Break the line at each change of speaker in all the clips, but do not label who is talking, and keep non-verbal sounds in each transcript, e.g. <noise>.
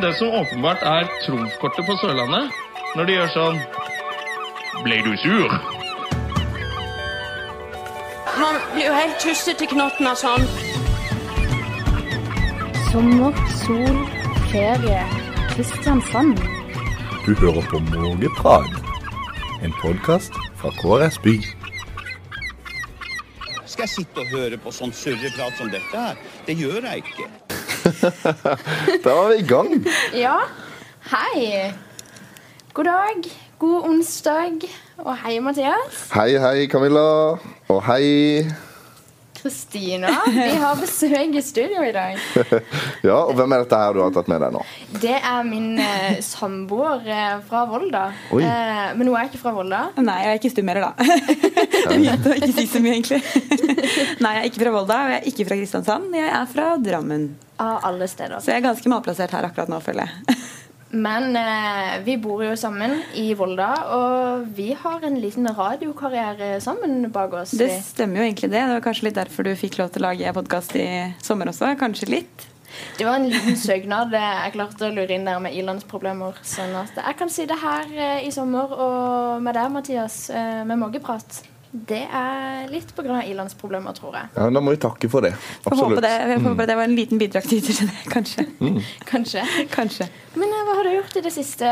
Det som åpenbart er trumfkortet på Sørlandet, når de gjør sånn Ble du sur?
Man blir jo helt tussete i knotten av sånn.
Sommer, sol, ferie. Kristiansand.
Du hører på Mågeprat, en podkast fra KrS By.
Skal jeg sitte og høre på sånn surreprat som dette her? Det gjør jeg ikke.
Da var vi i gang.
Ja, hei. God dag, god onsdag, og hei, Mathias.
Hei, hei, Camilla. Og hei.
Kristina. Vi har besøk i studio i dag.
Ja, og hvem er dette her du har tatt med deg nå?
Det er min eh, samboer eh, fra Volda.
Oi.
Eh, men hun er ikke fra Volda.
Nei, jeg er ikke stummer,
<laughs>
da. Jeg begynte å ikke si så mye, egentlig. Nei, jeg er ikke fra Volda, og jeg er ikke fra Kristiansand. Jeg er fra Drammen.
Av alle steder.
Så jeg er ganske malplassert her akkurat nå, føler jeg.
Men eh, vi bor jo sammen i Volda, og vi har en liten radiokarriere sammen bak oss.
Det
vi.
stemmer jo egentlig det. Det var kanskje litt derfor du fikk lov til å lage podkast i sommer også. Kanskje litt.
Det var en liten søknad eh, jeg klarte å lure inn der med ilandsproblemer. Sånn at jeg kan si det her eh, i sommer og med deg, Mathias, eh, med mågeprat. Det er litt pga. ilandsproblemer, tror jeg.
Ja, Da må vi takke for det.
Får håpe det, jeg
Mm.
håper det var en liten bidragsyter til det, <laughs> kanskje.
Kanskje.
Kanskje.
Men eh, hva har du gjort i det siste,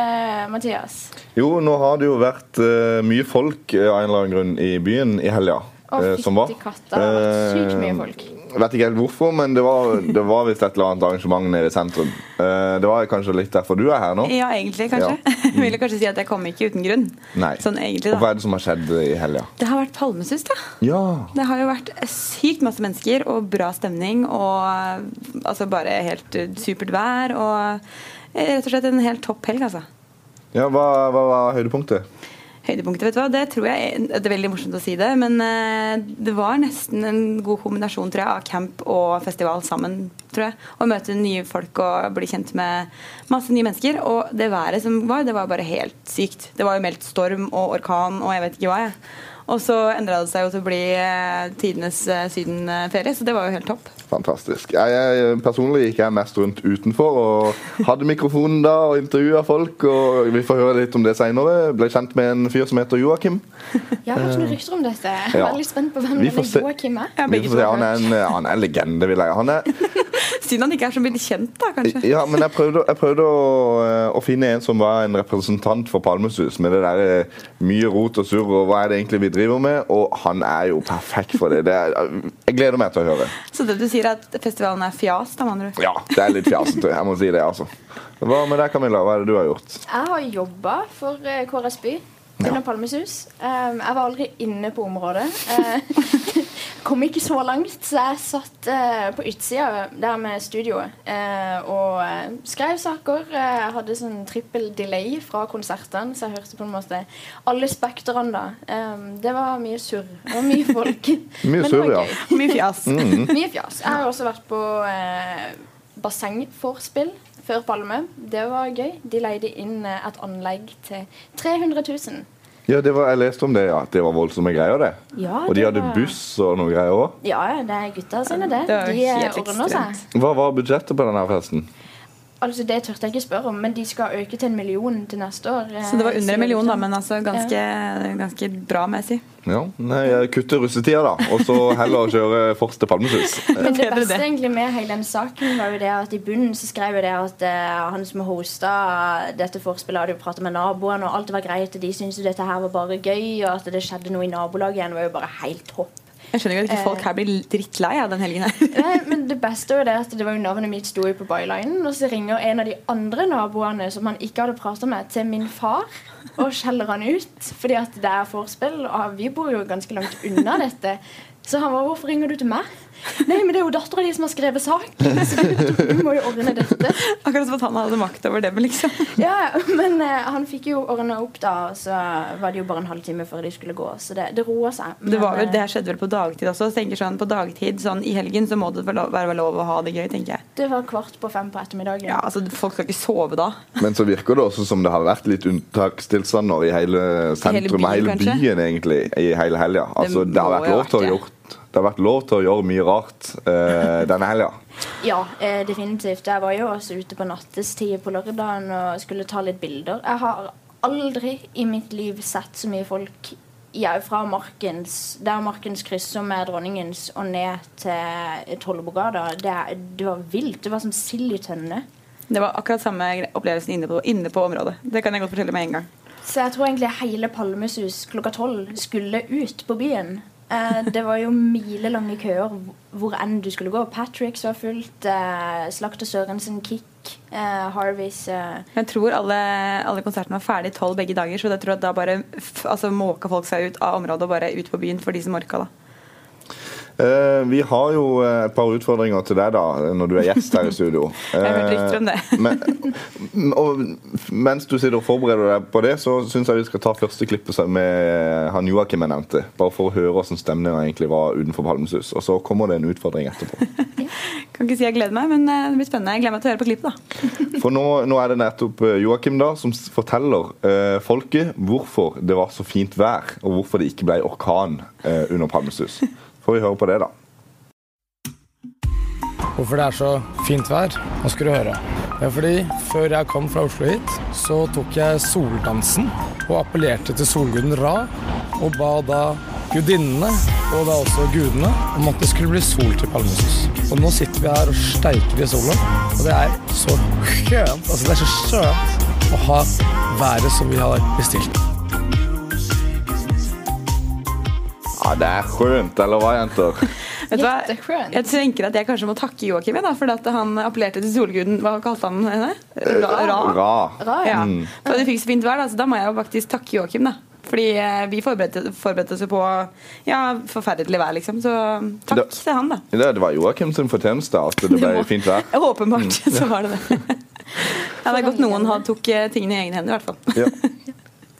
Mathias?
Jo, nå har det jo vært eh, mye folk eh, av en eller annen grunn i byen i helga.
Å,
eh, som var.
fytti katta, det har vært
Eh,
sykt mye folk.
Vet ikke helt hvorfor, men det var, det var visst et eller annet arrangement nede i sentrum. Eh, det var kanskje litt derfor du er her nå?
Ja, egentlig, <laughs> kanskje. Jeg ville kanskje si at jeg kom ikke uten grunn.
Mm. Nei.
Sånn egentlig,
Og hva
da.
er det som har skjedd i helga?
Det har vært palmesus, da.
Ja.
Det har jo vært sykt masse mennesker og bra stemning og eh, altså bare helt eh, supert vær og eh, rett og slett en helt topp helg, altså.
ja hva, hva var høydepunktet?
Høydepunktet, vet du hva, det tror jeg det er veldig morsomt å si det, men eh, det var nesten en god kombinasjon, tror jeg, av camp og festival sammen, tror jeg. Å møte nye folk og bli kjent med masse nye mennesker. Og det været som var, det var bare helt sykt. Det var jo meldt storm og orkan og jeg vet ikke hva, jeg. Og så endra det seg jo til å bli eh, tidenes eh, sydenferie, så det var jo helt topp.
Fantastisk. Jeg, jeg, personlig gikk jeg mest rundt utenfor og hadde mikrofonen da og intervjua folk. og Vi får høre litt om det seinere. Ble kjent med en fyr som heter Joakim.
Jeg har hørt noen rykter om dette. Jeg er
Eh, ja.
veldig spent på hvem
Vi får
denne
se.
Joakim er.
Ja,
Vi
begge
får se,
to har
han, er en, han er en legende, vil jeg. Han er,
Synd han ikke er så mye kjent, da, kanskje.
ja, men jeg prøvde, jeg prøvde å, eh, å finne en som var en representant for Palmesus, med det der eh, mye rot og surr og hva er det egentlig vi driver med, og han er jo perfekt for det. det er, jeg gleder meg til å høre.
Så det du sier er at festivalen er fjas, da, med andre ord?
Ja, det er litt fjasete. Jeg må si det, altså. Hva med deg, Camilla? Hva er det du har gjort?
Jeg har jobba for eh, KRS By under Palmesus. Um, jeg var aldri inne på området. Eh, <laughs> kom ikke så langt, så jeg satt eh, på utsida der med studioet eh, og eh, skrev saker. Eh, Jeg hadde sånn trippel delay fra konsertene, så jeg hørte på en måte alle spekterne da. Um, det var mye surr og mye
<laughs>
folk. Men det var
surr, ja.
gøy.
Mye fjas.
Mye fjas. Jeg har også vært på eh, bassengforspill før Palme. Det var gøy. De leide inn eh, et anlegg til 300 000.
Ja, det var, jeg leste om det, ja. At det var voldsomme greier, det.
Ja,
og de
det
hadde
var-
buss og noe greier òg.
Ja, ja, det er gutta sine, det.
Det var
De eh,
helt
ordner seg.
ekstremt.
Hva var budsjettet på denne festen?
Altså, Det turte jeg ikke spørre om, men de skal øke til en million til neste år. eh,
Så det var under
sier
en million, da,
de.
men altså ganske, ganske bra, må jeg si.
Ja, nei, Kutte russetida, da. Og så heller kjøre Fors til Palmesus.
Men det
<laughs> Bedre
beste
det.
egentlig med hele den saken var jo det at i bunnen så skrev jo det at eh, han som hosta dette forspillet, hadde jo pratet med naboene, og alt var greit, og de syntes jo dette her var bare gøy, og at det skjedde noe i nabolaget igjen, var jo bare helt topp.
Jeg skjønner ikke at ikke folk her blir drittlei av den helgen her. <laughs>
Nei, men det beste var jo det at det var jo navnet mitt sto jo på bylinen, og så ringer en av de andre naboene som han ikke hadde pratet med, til min far og skjeller han ut, fordi at det er forspill, og vi bor jo ganske langt unna dette. Så han var, hvorfor ringer du til meg? Nei, men det er jo datteren din som har skrevet saken, så du, du må jo ordne dette.
Akkurat som at han hadde makt over dem, liksom.
Ja, men eh, han fikk jo ordna opp da, og så var det jo bare en halvtime før de skulle gå, så det, det roa seg.
Det, var
Men,
vel, det
eh,
her skjedde vel på dagtid også. Så jeg tenker sånn, På dagtid sånn i helgen så må det vel lov- være lov å ha det gøy, tenker jeg.
det var kvart på fem på ettermiddagen.
Ja, altså Folk skal ikke sove da.
Men så virker det også som det har vært litt unntakstilstander i hele sentrum,
byen,
hele byen,
kanskje?
egentlig, i hele helga. Altså,
Det
det har
må
vært
jo
lov til å ha
vært det.
gjort det har vært lov til å gjøre mye rart eh, denne helga.
Ja, eh, definitivt. Jeg var jo også ute på nattestid på lørdagen og skulle ta litt bilder. Jeg har aldri i mitt liv sett så mye folk ja, fra Markens, der Markens krysser med Dronningens og ned til Tollebogata. Det, er- det var vilt. Det var som sild i tønne.
Det var akkurat samme gre- opplevelsen inne på, inne på området. Det kan jeg godt fortelle med en gang.
Så jeg tror egentlig hele Palmesus klokka tolv skulle ut på byen. Eh, det var jo milelange køer hvor enn du skulle gå. Patricks var fullt. Eh, Slakter Sørensen, Kick, eh, Harveys eh,
Jeg tror alle, alle konsertene var ferdig tolv begge dager, så jeg tror at da bare f altså, måka folk seg ut av området og bare ut på byen for de som orka, da.
Eh, vi har jo eh, et par utfordringer til deg da, når du er gjest her i studio.
<laughs> Jeg har hørt rykter om det.
Eh, men, og mens du sitter og forbereder deg på det, så syns jeg vi skal ta første klippet som- med eh, han Joakim jeg nevnte. Bare for å høre hvordan stemninga egentlig var utenfor Palmesus. Og så kommer det en utfordring etterpå.
Kan ikke si jeg gleder meg, men eh, det blir spennende. Jeg gleder meg til å høre på klippet, da.
For nå, nå er det nettopp eh, Joakim da som s- forteller eh, folket hvorfor det var så fint vær, og hvorfor det ikke ble orkan eh, under Palmesus. Får vi høre på det, da.
Hvorfor det er så fint vær? Nå skal du høre. Det er fordi før jeg kom fra Oslo hit, så tok jeg soldansen og appellerte til solguden Ra, og ba da gudinnene, og da også gudene, om at det skulle bli sol til Palmesus. Og nå sitter vi her og steiker i sola, og det er så skjønt, altså det er så skjønt å ha været som vi har bestilt.
Ja, det er skjønt, eller hva, jenter?
Vet du hva?
Jätteskönt.
Jeg tenker at jeg kanskje må takke Joakim jeg, da, for at han appellerte til solguden. Hva kalte han henne? Ra? Ra.
Ra. Mm.
Ra, ja.
Ja. For at vi fikk så fint vær, da, så da må jeg jo faktisk takke Joakim, da. Fordi eh, vi forberedte, forberedte oss jo på ja, forferdelig vær, liksom. Så takk
Da-
til han, da.
Det, det var Joakim sin fortjeneste at det ble fint vær.
<laughs>
Mm.
Åpenbart så var
<laughs>
det det. Ja, det er godt noen hadde- tok eh, tingene i egne hender, i hvert fall.
Ja.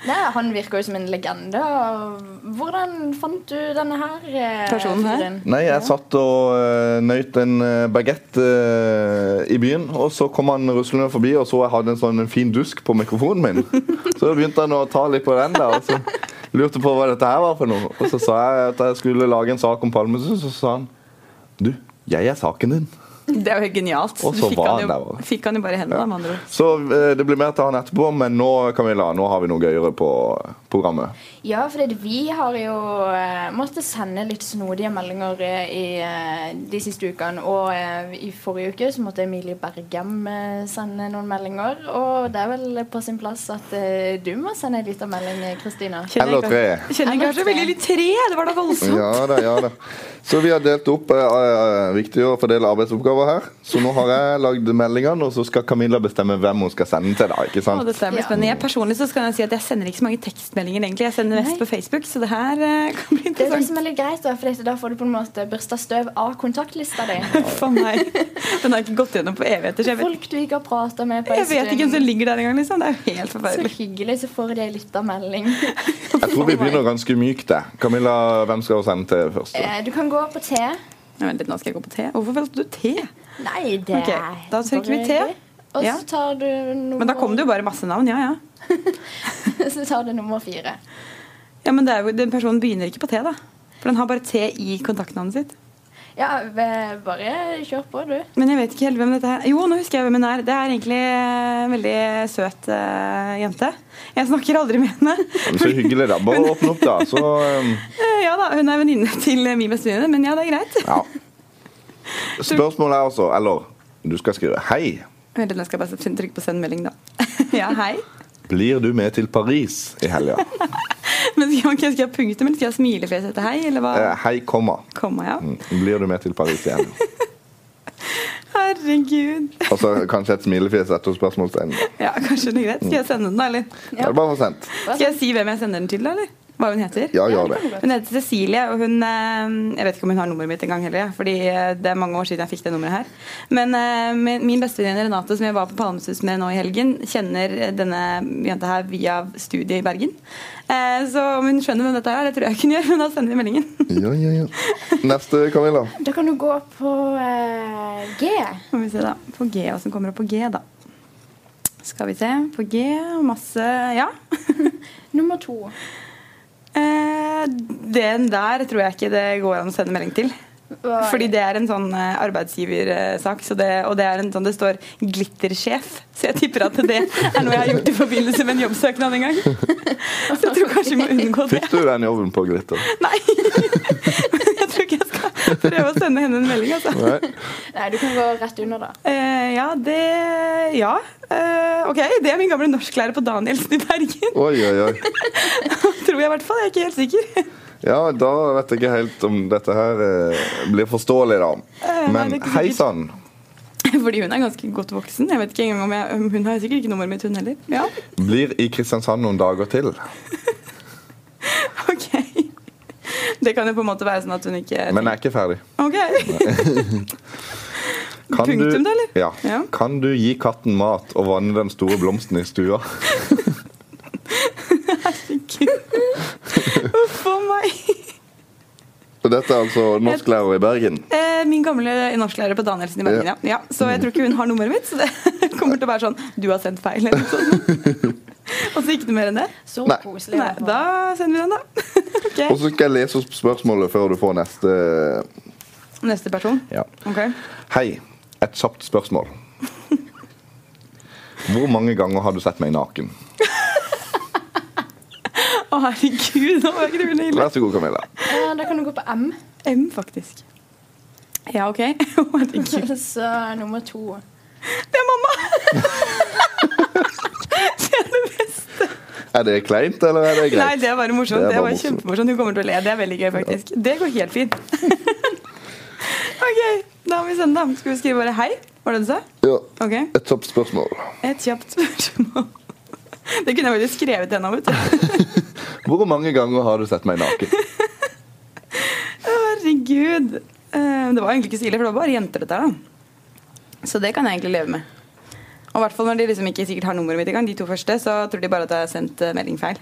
Nei, Han virker jo som en legende. og Hvordan fant du denne her? eh,
Personen her?
fyren?
Nei, jeg satt og uh, nøyt en uh, bagett eh, i byen, og så kom han ruslende forbi og så jeg hadde en sånn fin dusk på mikrofonen min. Så begynte han å ta litt på den der, og så lurte på hva dette her var for noe. Og så sa jeg at jeg skulle lage en sak om Palmesus, og så sa han du, jeg er saken din.
<laughs> Det er jo helt genialt.
Og så
Fikk
var
han
han
jo,
der også.
Fikk han jo bare i hendene, da, med andre ord.
Så eh, det blir mer til han etterpå, men nå Camilla, nå har vi noe gøyere på programmet.
Ja, for det, vi har jo eh, måttet sende litt snodige meldinger eh, i eh, de siste ukene. Og eh, i forrige uke så måtte Emilie Bergem eh, sende noen meldinger. Og det er vel på sin plass at eh, du må sende en liten melding, eh, Kristina.
Kjenner
Eller
jeg
tre.
kanskje- Kjenner jeg kanskje veldig litt tre. Det var da voldsomt.
Ja da, ja da. Så vi har delt opp eh, eh, viktig å fordele arbeidsoppgaver her. Så nå har jeg lagd meldingene, og så skal Camilla bestemme hvem hun skal sende til. da, ikke
Og
sant?
dette blir spennende. Jeg personlig så skal jeg si at jeg sender ikke så mange tekstmeldinger, egentlig. Jeg sender mest på Facebook, så det her eh, <laughs> kan bli
Det er det
interessant.
som er litt greit, da, for dette, da får du på en måte børsta støv av kontaktlista
<laughs>
di.
For meg. Den har jeg ikke gått gjennom på evigheter, så jeg vet,
Folk du ikke har prata med på en
jeg vet ikke hvem som ligger der engang, liksom. Det er jo helt
Så
forferdelig.
hyggelig, så får de ei lita melding.
Jeg tror vi begynner ganske mykt. der. Camilla, hvem skal hun sende til først? da?
Eh, Du kan gå på T.
Nei, Vent litt, nå skal jeg gå på te. Hvorfor valgte du te?
Nei, det
Ok, da trykker vi T.
Og
Ja.
så tar du nummer
Men da kom det jo bare masse navn, ja ja.
<laughs> Så tar du nummer fire.
Ja, men det er jo, Den personen begynner ikke på te, da. For den har bare te i kontaktnavnet sitt.
Ja, ve- bare kjør på, du.
Men jeg vet ikke helt hvem dette er. Jo, nå husker jeg hvem hun er. Det er egentlig en veldig søt eh, jente. Jeg snakker aldri med henne.
Men Så hyggelig, da. Bare åpne opp, da. Så eh,
Eh, Ja da, hun er venninne til eh, min bestevenninne, men ja, det er greit.
ja. Spørsmålet er altså, eller du skal skrive Hei,
Vent litt, jeg skal bare trykke på send melding, da. <laughs> Ja, hei.
blir du med til Paris i helga?
Men skal, ok, skal jeg ha punktum, eller skal jeg ha smilefjes etter hei, eller hva?
Eh, Hei, komma.
Komma, ja.
Mm, Blir du med til Paris i helga?
Herregud.
Og så Altså, kanskje et smilefjes etter spørsmålstegn. da.
Ja, kanskje det er greit. Skal jeg sende den, da, eller?
Da er det bare å få sendt.
Skal jeg si hvem jeg sender den til, da, eller? Hva hun heter?
Ja, gjør det.
Hun heter Cecilie, og hun eh, Jeg vet ikke om hun har nummeret mitt engang heller, jeg, fordi eh, det er mange år siden jeg fikk det nummeret her. Men eh, min min bestevenninne Renate, som jeg var på Palmesus med nå i helgen, kjenner eh, denne jenta her via studiet i Bergen. Eh, Så om hun skjønner hvem dette er, det tror jeg ikke hun gjør, men da sender vi meldingen. <laughs>
Ja, ja, ja. Neste, Camilla.
Da kan du gå på eh, G.
Får vi se, da. På G, hva som kommer opp på G, da. Skal vi se. På G, masse Ja. <laughs>
Nummer to.
Eh, Den der tror jeg ikke det går an å sende melding til.
Hva-
Fordi det er en sånn eh, arbeidsgiversak, så det, og det er en sånn det står 'glittersjef'. Så jeg tipper at det er noe jeg har gjort i forbindelse med en jobbsøknad en gang. <laughs> Så jeg tror kanskje vi må unngå det.
Fikk du den jobben på Glitter?
Nei! <laughs> Jeg tror ikke jeg skal prøve å sende henne en melding, altså.
Nei.
Nei, du kan gå rett under, da.
Eh, ja, det Ja. Eh, ok, det er min gamle norsklærer på Danielsen i Bergen. <laughs>
Oi, oi, oi.
Tror jeg i hvert fall. Jeg er ikke helt sikker. <laughs>
Ja, da vet jeg ikke helt om dette her eh, blir forståelig, da.
Eh, nei,
Men
det er ikke
hei
sikkert.
sann.
Fordi hun er ganske godt voksen. Jeg vet ikke engang om jeg, om Hun har sikkert ikke nummeret mitt, hun heller. Ja,
Blir i Kristiansand noen dager til.
ok Det kan jo på en måte være sånn at hun ikke
Men jeg er ikke ferdig. <laughs>
Ok. Punktum, da, eller?
Ja.
Ja.
Kan du gi katten mat og vanne den store blomsten i stua?
Herregud. Uff a meg.
Og dette er altså norsklærer i Bergen.
Eh, Min gamle norsklærer på Danielsen i Bergen, ja. ja. Så jeg tror ikke hun har nummeret mitt, så det <laughs> kommer til å være sånn Du har sendt feil, eller noe sånt.
<laughs>
Og så ikke noe mer enn det.
Så
Nei.
koselig. altså.
Nei, da <laughs> sender vi den, da.
Og
Ok.
så skal jeg lese opp spørsmålet før du får neste. eh,
Neste person.
Ja.
Ok.
Hei. Et kjapt spørsmål. Hvor mange ganger har du sett meg naken?
Å, herregud, nå var ikke det veldig ille.
Vær så god, Camilla.
Eh, Da kan du gå på M.
M, faktisk. Ja, OK. <laughs> Å, herregud.
<laughs> Så nummer to.
Det er mamma! <laughs>
Er det kleint, eller er det
Nei,
greit?
det er bare morsomt.
Det
Det
er
er
bare
bare
morsomt.
kjempemorsomt. Hun kommer til å le. Det er veldig gøy, faktisk. Det går helt fint. <laughs> OK, da må vi sende, da. Skal vi skrive bare 'hei'? Var det det du sa?
Ja.
Ok.
Et kjapt
<laughs>
spørsmål.
Et kjapt spørsmål. <laughs> Det kunne jeg vel skrevet ennå, vet du. <laughs>
Hvor mange ganger har du sett meg naken?
Herregud. Eh, Det var egentlig ikke så ille, for det var bare jenter, dette her, da. Så det kan jeg egentlig leve med. Og i hvert fall når de liksom ikke sikkert har nummeret mitt engang, de to første, så tror de bare at jeg har sendt eh, melding feil.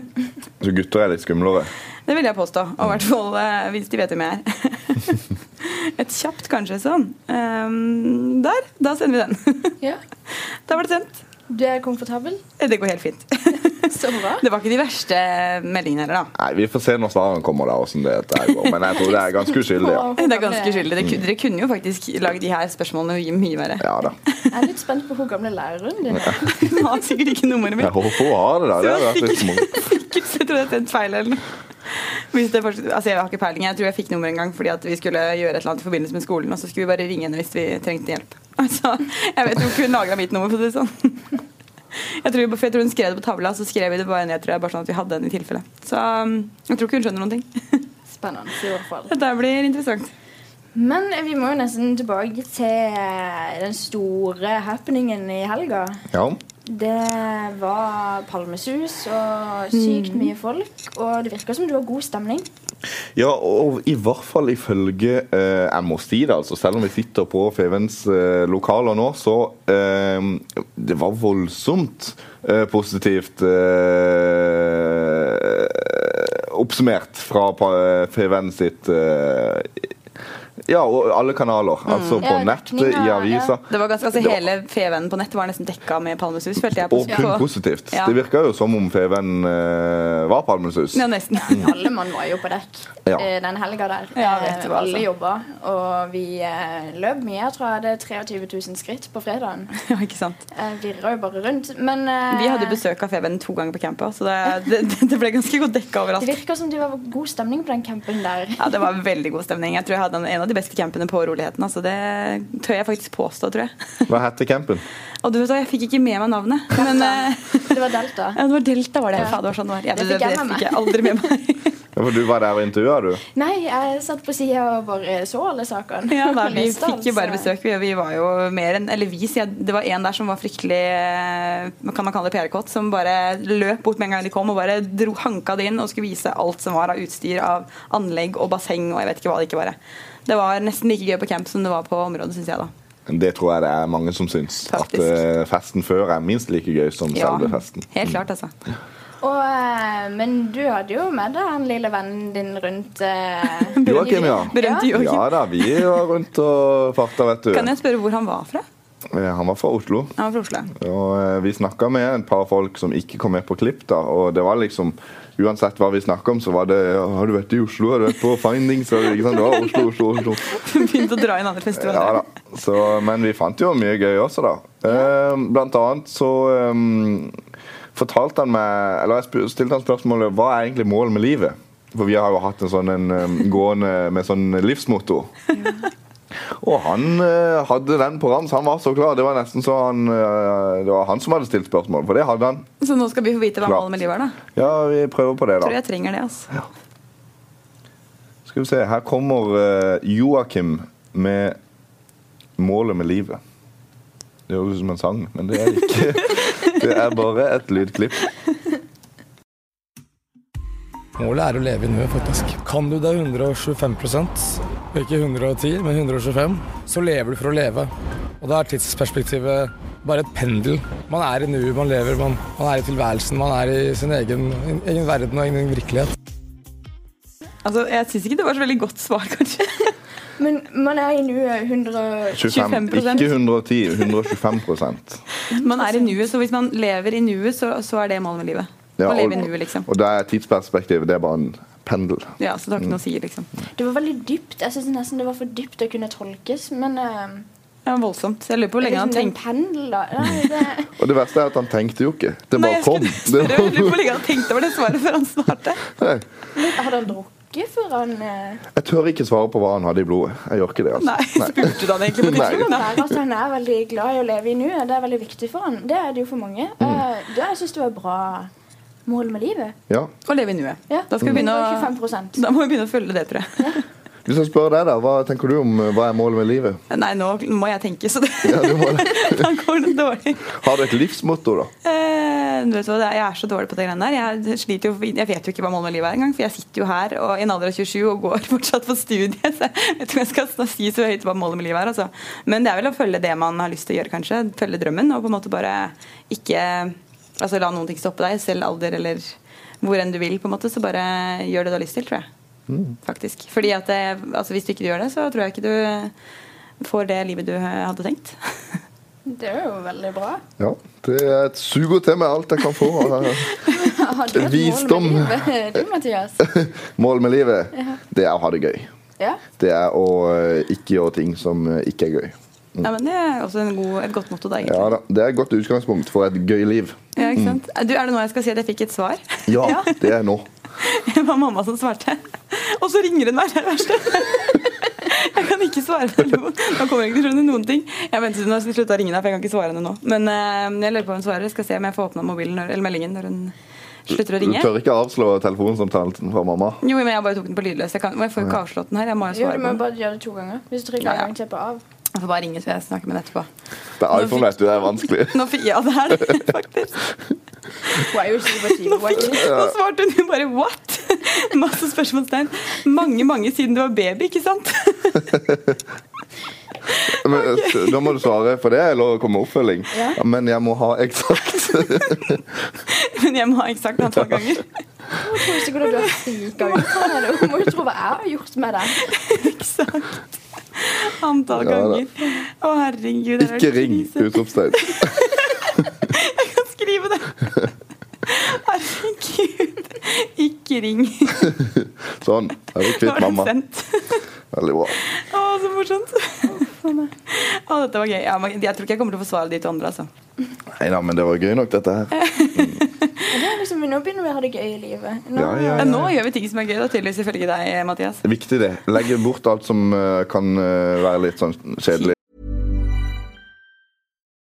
<laughs>
Så gutter er litt skumlere.
Det vil jeg påstå. Og i hvert fall eh, hvis de vet hvem jeg er. <laughs> Et kjapt kanskje sånn. Ehm, der. Da sender vi den. <laughs>
Ja.
Da var det sendt.
Du er
<laughs>
komfortabel?
Eh, Det går helt fint.
Så bra.
Det var ikke de verste eh, meldingene heller, da.
Nei, Vi får se når svarene kommer, da, hvordan det dette her går. Men jeg tror det er ganske uskyldig. Ja,
Det er ganske uskyldig. Det ku- Dere kunne jo faktisk lagd de her spørsmålene mye- mye verre. <laughs>
ja da.
Jeg er litt spent på hvor gamle læreren din er.
Hun har sikkert ikke nummeret
Jeg
mitt.
håper hun har det, da. Det hadde vært litt moro.
Sikkert så jeg tror jeg har sendt feil eller noe. Hvis det fortsatt, altså jeg har ikke peiling. Jeg tror jeg fikk nummer en gang fordi at vi skulle gjøre et eller annet i forbindelse med skolen, og så skulle vi bare ringe henne hvis vi trengte hjelp. Altså, jeg vet jo ikke hun lagra mitt nummer, for å si det sånn. Jeg tror, for jeg tror hun skrev det på tavla, så skrev vi det bare ned, tror jeg, bare sånn at vi hadde den i tilfelle. Så um, jeg tror ikke hun skjønner noen ting. <laughs>
Spennende, i hvert fall.
Dette blir interessant.
Men vi må jo nesten tilbake til eh, den store happeningen i helga.
Ja.
Det var palmesus og sykt
Mm.
mye folk, og det virka som det var god stemning.
Ja, og i hvert fall ifølge eh, jeg må si det, altså. Selv om vi sitter på Fevens eh, lokaler nå, så eh, Det var voldsomt eh, positivt eh, oppsummert fra pa- Feven sitt eh, Ja, og alle kanaler. Altså på
Ja,
nettet,
dekning,
i
ja,
aviser.
Det var ganske, altså
Det var-
Hele Fevennen på nettet var nesten dekka med palmesus, følte jeg. på-
Og kun
på-
positivt.
Ja.
Det virka jo som om Feven eh, var Palmesus.
Ja, nesten.
Alle mann var jo på dekk
Ja.
eh, den helga der.
Ja, vet du
Eh,
hva,
Alle
altså.
jobba, og vi eh, løp mye. Jeg tror jeg hadde 23 000 skritt på fredagen.
<laughs> Ja, ikke sant.
Jeg virra jo bare rundt. Men eh,
Vi hadde besøk av Feven to ganger på campet, så det, det, det ble ganske godt dekka
det
overalt.
virka som det var god stemning på den campen der.
Ja, Det var veldig god stemning. Jeg tror jeg hadde en av de beste campene på Roligheten. Altså, det tør jeg faktisk påstå, tror jeg. <laughs>
Hva heter campen?
Og du vet hva, jeg fikk ikke med meg
<laughs>
navnet. Men eh,
Det var Delta.
ja, det var Delta, var det. Ja. det var sånn det var. Ja,
Det
det, det,
fikk jeg med
fikk jeg aldri med meg.
<laughs>
<laughs>
Ja, for du var der og intervjua, du?
Nei, jeg satt på sida og bare så <laughs> alle sakene.
Ja, da,
Og
vi
leste alt,
fikk jo bare
så-
besøk. Vi, vi var jo mer enn Eller vi, sier jeg. Det var en der som var fryktelig eh, Kan man kalle det PR-kåt? Som bare løp bort med en gang de kom og bare dro, hanka det inn og skulle vise alt som var av utstyr, av anlegg og basseng og jeg vet ikke hva det ikke var. Det var nesten like gøy på camp som det var på området, syns jeg, da.
Det tror jeg det er mange som syns.
Faktisk.
At eh, festen før er minst like gøy som selve festen.
helt klart, altså.
Og, eh, men du hadde jo med deg han lille vennen din rundt eh,
<laughs> Joakim, ja.
Berømte Joakim.
Ja da, vi var rundt og farta, vet du.
Kan jeg spørre hvor han var fra?
Eh, Han var fra Oslo.
Han var fra Oslo. <laughs>
Og eh, vi snakka med et par folk som ikke kom med på klipp, da, og det var liksom uansett hva vi snakket om, så var det ja, 'Har du vært i Oslo? Har du vært på Findings?' Har du- Ikke sant? Det var Oslo, Oslo, Oslo.
Begynte å dra inn andre
Ja
festivaler.
da. Så, men vi fant jo mye gøy også, da. Eh, blant annet så eh, fortalte han meg Eller jeg sp- stilte han spørsmålet hva er egentlig målet med livet? For vi har jo hatt en sånn en, eh, gående med sånn livsmotto. Og han eh, hadde den på rams. Han var så klar. Det var nesten så han eh, Det var han som hadde stilt spørsmål, for det hadde han.
Så nå skal vi få vite hva
Klart.
målet med livet er, da.
Ja, vi prøver på det,
Tror
da.
jeg trenger det, altså.
Skal vi se. Her kommer eh, Joakim med 'Målet med livet'. Det høres ut som en sang, men det er det
<laughs>
ikke. Det er bare et lydklipp.
Målet er å leve i nuet, faktisk. Kan du det 125 ikke 110, men 125, så lever du for å leve. Og da er tidsperspektivet bare et pendel. Man er i nuet, man lever, man, man er i tilværelsen, man er i sin egen, egen verden og egen virkelighet.
altså jeg syns ikke det var så veldig godt svar, <laughs> kanskje.
Men man er i eh, nuet 100
25,
25%.
ikke 110. 125
Man er i nuet, så hvis man lever i nuet, så, så er det målet med livet.
Ja,
å
og-
leve i nuet, liksom.
Og det er tidsperspektivet. Det er bare en pendel.
Ja, så det har ikke noe å si, liksom.
Det var veldig dypt. Jeg synes nesten det var for dypt å kunne tolkes. Men eh,
Det var voldsomt. Så jeg lurer på hvor
det
lenge
er
han
liksom en
tenkte
pendel, da. Nei, det,
<laughs>
Og det verste er at han tenkte jo ikke. Det
Nei,
bare
jeg
kom.
skulle <laughs>
Det
spørre, jeg lurer på
var,
hvor lenge
<laughs>
han tenkte over det svaret før han svarte.
Nei,
hadde han drukket før han eh,
jeg tør ikke svare på hva han hadde i blodet. Jeg gjør ikke det. altså.
Nei, spurte du han egentlig på
Nei.
tidsrommet? Nei.
At Altså, han er veldig glad i å leve i nuet. Det er veldig viktig for han. Det er det jo for mange.
Mm.
Eh, det jeg synes det var et bra mål med livet.
Ja.
Å leve i nuet.
Ja.
Da skal vi begynne å
25
da må vi begynne å følge det, tror jeg.
Hvis jeg spør deg, da, hva tenker du om eh, hva er målet med livet?
Nei, nå må jeg tenke, så det,
Ja, du
<laughs>
må det.
da går det dårlig.
Har du et livsmotto, da?
Eh, du vet hva, det er- Jeg er så dårlig på det greiene der. Jeg, sliter jo, jeg vet jo ikke hva målet med livet er engang. For jeg sitter jo her og, i en alder av 27 og går <laughs> fortsatt på studiet. Så jeg vet ikke om jeg skal sn- si så høyt hva målet med livet er. Altså. Men det er vel å følge det man har lyst til å gjøre, kanskje. Følge drømmen. Og på en måte bare ikke altså, la noen ting stoppe deg, selv alder eller hvor enn du vil. på en måte, Så bare gjør det du har lyst til, tror jeg. Faktisk. Fordi at det, altså, Hvis du ikke gjør det, så tror jeg ikke du får det livet du eh, hadde tenkt.
Det er jo veldig bra.
<laughs> Ja, det er et suger til meg alt jeg kan få. av
Har du et
Visdom.
mål med livet, du,
<laughs>
Mathias?
Målet med livet, det er å ha det gøy.
Ja.
Det er å eh, ikke gjøre ting som eh, ikke er gøy.
Ja, men Det er også en god, et godt motto, da. egentlig.
Ja da, Det er et godt utgangspunkt for et gøy liv.
Ja, ikke sant? Eh, Du, er det nå jeg skal si at jeg fikk et svar? <laughs>
Ja, det er nå.
Det var mamma som svarte. Og så ringer hun meg, det er det verste. <laughs> Jeg kan ikke svare på telefon. Nå kommer jeg ikke til å skjønne noen ting. Jeg venter til hun har sluttet å ringe deg, for jeg kan ikke svare henne nå. Men eh, jeg lurer på om hun svarer. Jeg skal se om jeg får åpna mobilen når, eller meldingen når hun slutter å
Du
ringe.
tør ikke avslå telefonsamtalen fra mamma?
Jo, men jeg bare tok den på lydløs. Jeg, kan, men jeg får jo ikke avslått den her. Jeg må jo
Jo, du
svare
må
på den.
bare gjøre det to ganger. Hvis du trykker
Ja,
en
ja.
gang, slipper av.
Jeg får bare ringe, så jeg snakker med henne etterpå.
Det er iPhone, vet du. Det er
<laughs>
vanskelig.
Nå fikk ja, det her, faktisk.
Hun er jo ikke på tide. Hun er ikke-
Nå svarte hun jo bare what? <laughs> Masse spørsmålstegn. Mange, mange siden du var baby, ikke sant?
Men, eh, Da må du svare for det, eller komme med oppfølging. Ja, Men jeg må ha eksakt.
Men jeg må ha eksakt antall ganger.
Hun tror sikkert at du har fika ut fra henne. Hun må jo tro hva jeg har gjort med deg.
Eksakt
Ja,
antall
da.
ganger. Å, herregud. det er
Ikke ring!
krise.
Utropstegn.
Jeg kan skrive
<laughs>
det. Herregud. Ikke ring.
Sånn. Da er vi
Nå
kvitt
var den
mamma.
sendt.
Veldig bra.
Å, så morsomt. Å, dette var gøy. Ja, men jeg tror ikke jeg kommer til å få svar av de to andre, altså.
Nei da, men det var gøy nok, dette her.
Men det er liksom, nå begynner vi å ha det gøy i livet. Nå,
Ja, ja,
Men nå
ja.
gjør vi ting som er gøy, da, tydeligvis ifølge deg, Mathias.
Viktig, det. Legge bort alt som eh, kan eh, være litt sånn kjedelig.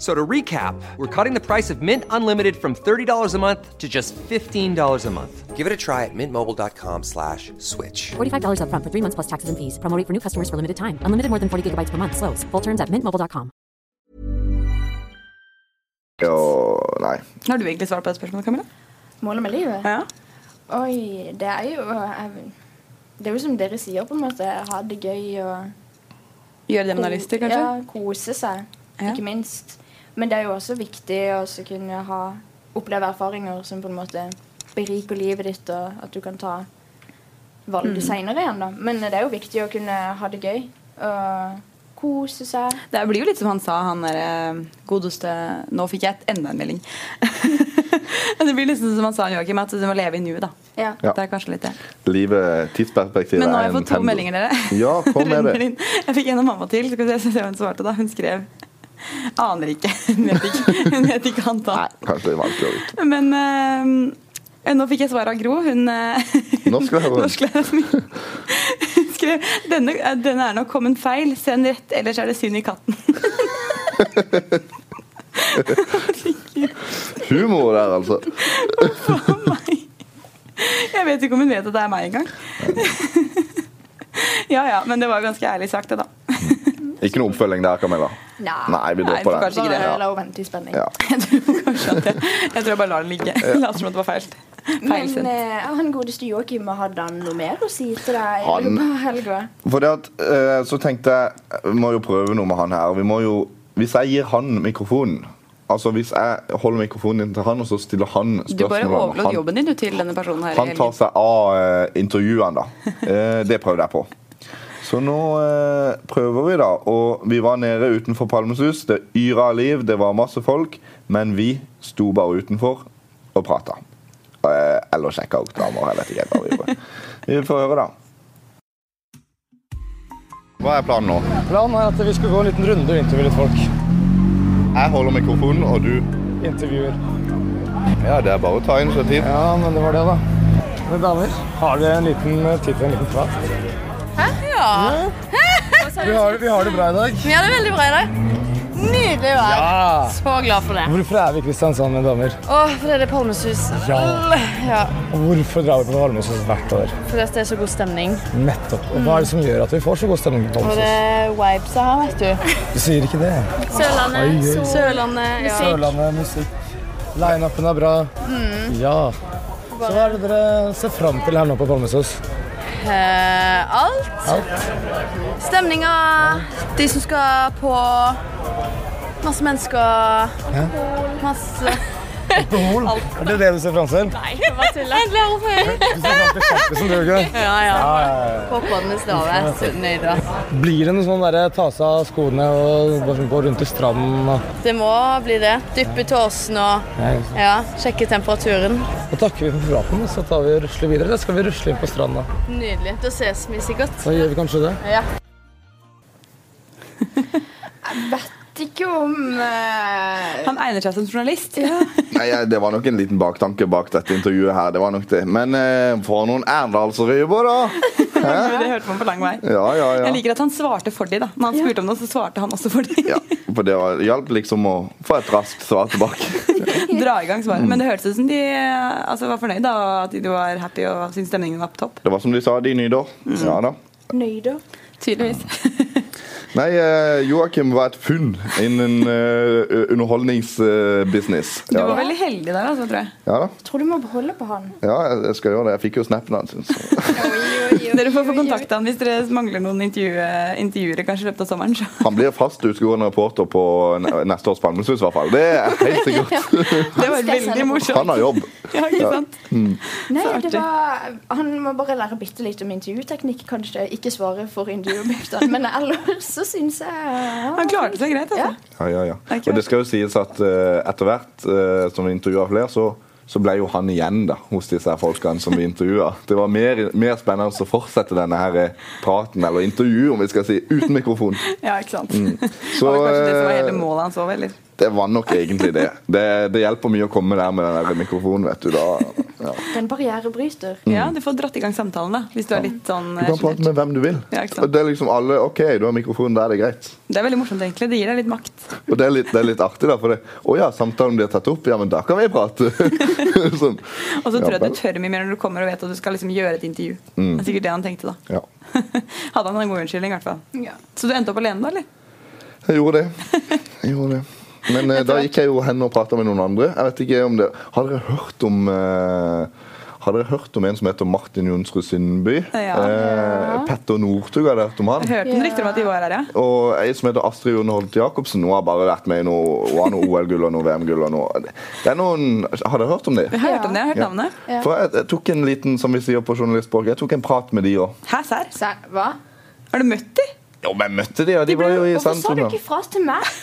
So to recap, we're cutting the price of Mint Unlimited from $30 a month to just $15 a month. Give it a try at mintmobile.com slash switch.
$45 upfront for three months plus taxes and fees. Promo rate for new customers for limited time. Unlimited more than 40 gigabytes per month. Slows. Full terms at mintmobile.com.
Og nei.
Har du egentlig svar på det spørsmålet, Camilla?
Målet med livet?
Ja.
Oi, det er jo jeg, Det er jo som dere sier, på en måte. Ha det gøy og
Gjøre det man har lyst til, kanskje?
Ja, kose seg,
Ja.
ikke minst. Men det er jo også viktig å også kunne ha oppleve erfaringer som på en måte beriker livet ditt, og at du kan ta valg
Mm.
senere igjen. da. Men det er jo viktig å kunne ha det gøy og kose seg.
Det blir jo litt som han sa, han der eh, godeste Nå fikk jeg et, enda en melding. <laughs> det blir liksom som han sa, Joakim, at du må leve i nuet, da.
Ja.
Ja.
Det er kanskje litt det.
Livet, tidsperspektivet
Men nå har
er
jeg
en
fått to
pendel.
meldinger, dere.
Ja,
<laughs>
kom med
Renner
det.
inn. Jeg fikk en av mamma til. Skal vi se- se hva hun svarte da. Hun skrev Aner ikke. <laughs> Hun vet ikke, hun vet ikke
Nei,
antall.
kanskje det er vanskelig å vite.
Men eh, nå fikk jeg svar av Gro. Hun eh, <laughs>
Norsklæreren.
norsklæreren min. Hun skrev denne, eh, 'Denne er nok kommet feil. Send rett, ellers er det synd i katten'. <laughs>
Humor der, altså.
For meg. Jeg vet ikke om hun vet at det er meg engang. <laughs> Ja ja, men det var ganske ærlig sagt, det, da.
Ikke noe oppfølging der, Camilla. Nei, vi
Nei,
dropper
kanskje
den.
ikke det.
Bare la henne vente i spenning.
Ja.
Jeg tror kanskje at jeg, jeg tror jeg bare lar den ligge. Later som at det var feil. feil
Men
sendt.
eh, han godeste Joakim, hadde han noe mer å si til deg i
Han-
løpet av helga?
For det at, eh, så tenkte jeg Vi må jo prøve noe med han her. Vi må jo, hvis jeg gir han mikrofonen Altså Hvis jeg holder mikrofonen inn til han, og så stiller han spørsmål
Du bare overlot
han,
jobben din du, til denne personen her.
han tar seg av eh, intervjuene, da. Eh, det prøvde jeg på. Så nå eh, prøver vi, da. Og vi var nede utenfor Palmesus. Det yra av liv, det var masse folk. Men vi sto bare utenfor og prata. Eh, eller sjekka ut damer. Jeg vet ikke hva vi gjorde. Vi får høre, da. Hva er planen nå?
Planen er at vi skulle gå en liten runde og intervjue litt folk.
Jeg holder mikrofonen, og du
Intervjuer.
Ja, det er bare å ta initiativ.
Ja, men det var det, da. Men damer, har dere en liten eh, tid til en liten prat? Hæ? Ja. Vi har, vi har det bra i dag.
Vi har det veldig bra i dag. Nydelig vær.
Ja.
Så glad for det.
Hvorfor er vi i Kristiansand med damer?
Åh, for det er det Palmesus.
Ja.
Ja,
Og hvorfor drar vi på Valmøysus hvert år?
for det er så god stemning. Mm.
Nettopp. Og hva er det som gjør at vi får så god stemning på
Og det er
Valmøysus?
vibes her, vet du.
Du sier ikke det. Oi, oi, oi.
Sørlandet. Sørlandet, ja.
Sørlandet, musikk. Line-upen er bra.
Mm.
Ja. Så hva er det dere ser fram til her nå på Palmesus?
Eh, alt. Stemninga. De som skal på Masse mennesker. Masse
Alkohol? Er det det du ser fram til?
Nei, det var tull.
Du ser fram til kjempisen, du, ikke?
<laughs> Ja, ja.
Ja, ja, ja.
Popkornet stavet. Så Nøyd, da.
Blir det noe sånn derre ta seg av skoene og bare gå rundt i stranden og
Det må bli det. Dyppe tåsen og
Nei.
ja, sjekke temperaturen.
Da takker vi for praten, så tar vi og rusler videre. Eller skal vi rusle inn på stranda?
Nydelig. Da ses vi sikkert.
Da gjør vi kanskje det.
Ja.
Vet ikke om eh,
Han egner seg som journalist. <laughs>
Nei, jeg- Det var nok en liten baktanke bak dette intervjuet her. det var nok det. Men eh, for noen Erndalsrøyber, da!
Det hørte man på lang vei.
Ja, ja, ja.
Jeg liker at han svarte for de, da. Når han spurte om noe, så svarte han også for de.
ja for det var- hjalp liksom å få et raskt svar tilbake.
<laughs> Dra i gang svaret.
Mm.
Men det hørtes ut som de eh, altså, var fornøyd, da, og at de var happy og syntes stemningen var på topp.
Det var som de sa, de nyder.
Mm.
Ja da.
nøyder?
Tydeligvis.
Nei, eh, Joakim var et funn innen eh, underholdningsbusiness.
<laughs> Du
Ja,
var
da.
veldig heldig der, altså, tror jeg.
ja da.
Jeg tror du må beholde på han.
Ja, jeg- jeg skal gjøre det. Jeg fikk jo snappen hans. så-
Dere får få kontakte han hvis dere mangler noen intervju, intervjuere kanskje i løpet av sommeren. Så.
Han blir fast utgående reporter på ne- neste års Palmesus, i hvert fall. Det er helt
<laughs>
sikkert.
Det var
jeg sende
veldig
på-
Han
morsomt.
har jobb.
Ja, ikke sant?
Nei,
Så
det
artig.
var, han må bare lære bitte litt om intervjuteknikk, kanskje. Ikke svare for intervjuobjektene, men ellers så syns jeg ja.
Han klarte seg greit, altså.
Ja, ja, ja.
Det er kult.
Og det skal jo sies at eh, etter hvert eh, som vi intervjua flere, så, så ble jo han igjen da, hos disse her folkene som vi intervjua.
<laughs>
Det var mer, mer spennende å fortsette denne her eh, praten, eller intervjuet, om vi skal si, uten mikrofon.
Ja, ikke sant.
Mm. Så,
det <laughs> var kanskje det som var
eh,
hele målet hans òg, eller?
Det var nok egentlig det. Det, det hjelper mye å komme der med den der mikrofonen, vet du. da. Ja.
Den barrierebryter.
Ja, du får dratt i gang samtalen, da. Hvis du er litt sånn
mm. Du
eh,
kan prate
sjenert.
med hvem du vil.
Ja, ikke sant.
Og det er liksom alle OK, du har mikrofonen, da er det greit.
Det er veldig morsomt, egentlig. Det gir deg litt makt.
Og det er litt, det er litt artig, da. For det, å ja, samtalen blir tatt opp, ja, men da kan vi prate. <laughs> sånn.
Og så
Ja,
tror jeg at
vel. Mm.
du tør mye mer når du kommer og vet at du skal liksom gjøre et intervju. Det er sikkert det han tenkte, da.
Ja.
<laughs> Hadde han en god unnskyldning, i hvert fall. Så du endte opp alene, da, eller?
Jeg gjorde det. Jeg gjorde det. Men eh, da gikk jeg jo hen og prata med noen andre. Jeg vet ikke om det Har dere hørt om eh, Har dere hørt om en som heter Martin Jonsrud Sundby?
Ja.
Eh, Petter Northug, har dere hørt om han?
Hørte noen rykter om at de var her, ja.
Og ei som heter Astrid Jonne Holt Jacobsen. Hun har bare vært med i noe, hun har noe OL-gull og noe VM-gull. og noe. Det er noen, Har dere hørt om de?
Jeg har hørt om det, jeg har hørt navnet.
For jeg, jeg tok en liten som vi sier på journalistspråk, jeg tok en prat med de òg.
Hæ, serr?
Så, hva?
Har du møtt de?
Jo, men jeg møtte de, og de, var jo i
Hvorfor sa
sentrum.
du
da.
ikke fra til meg?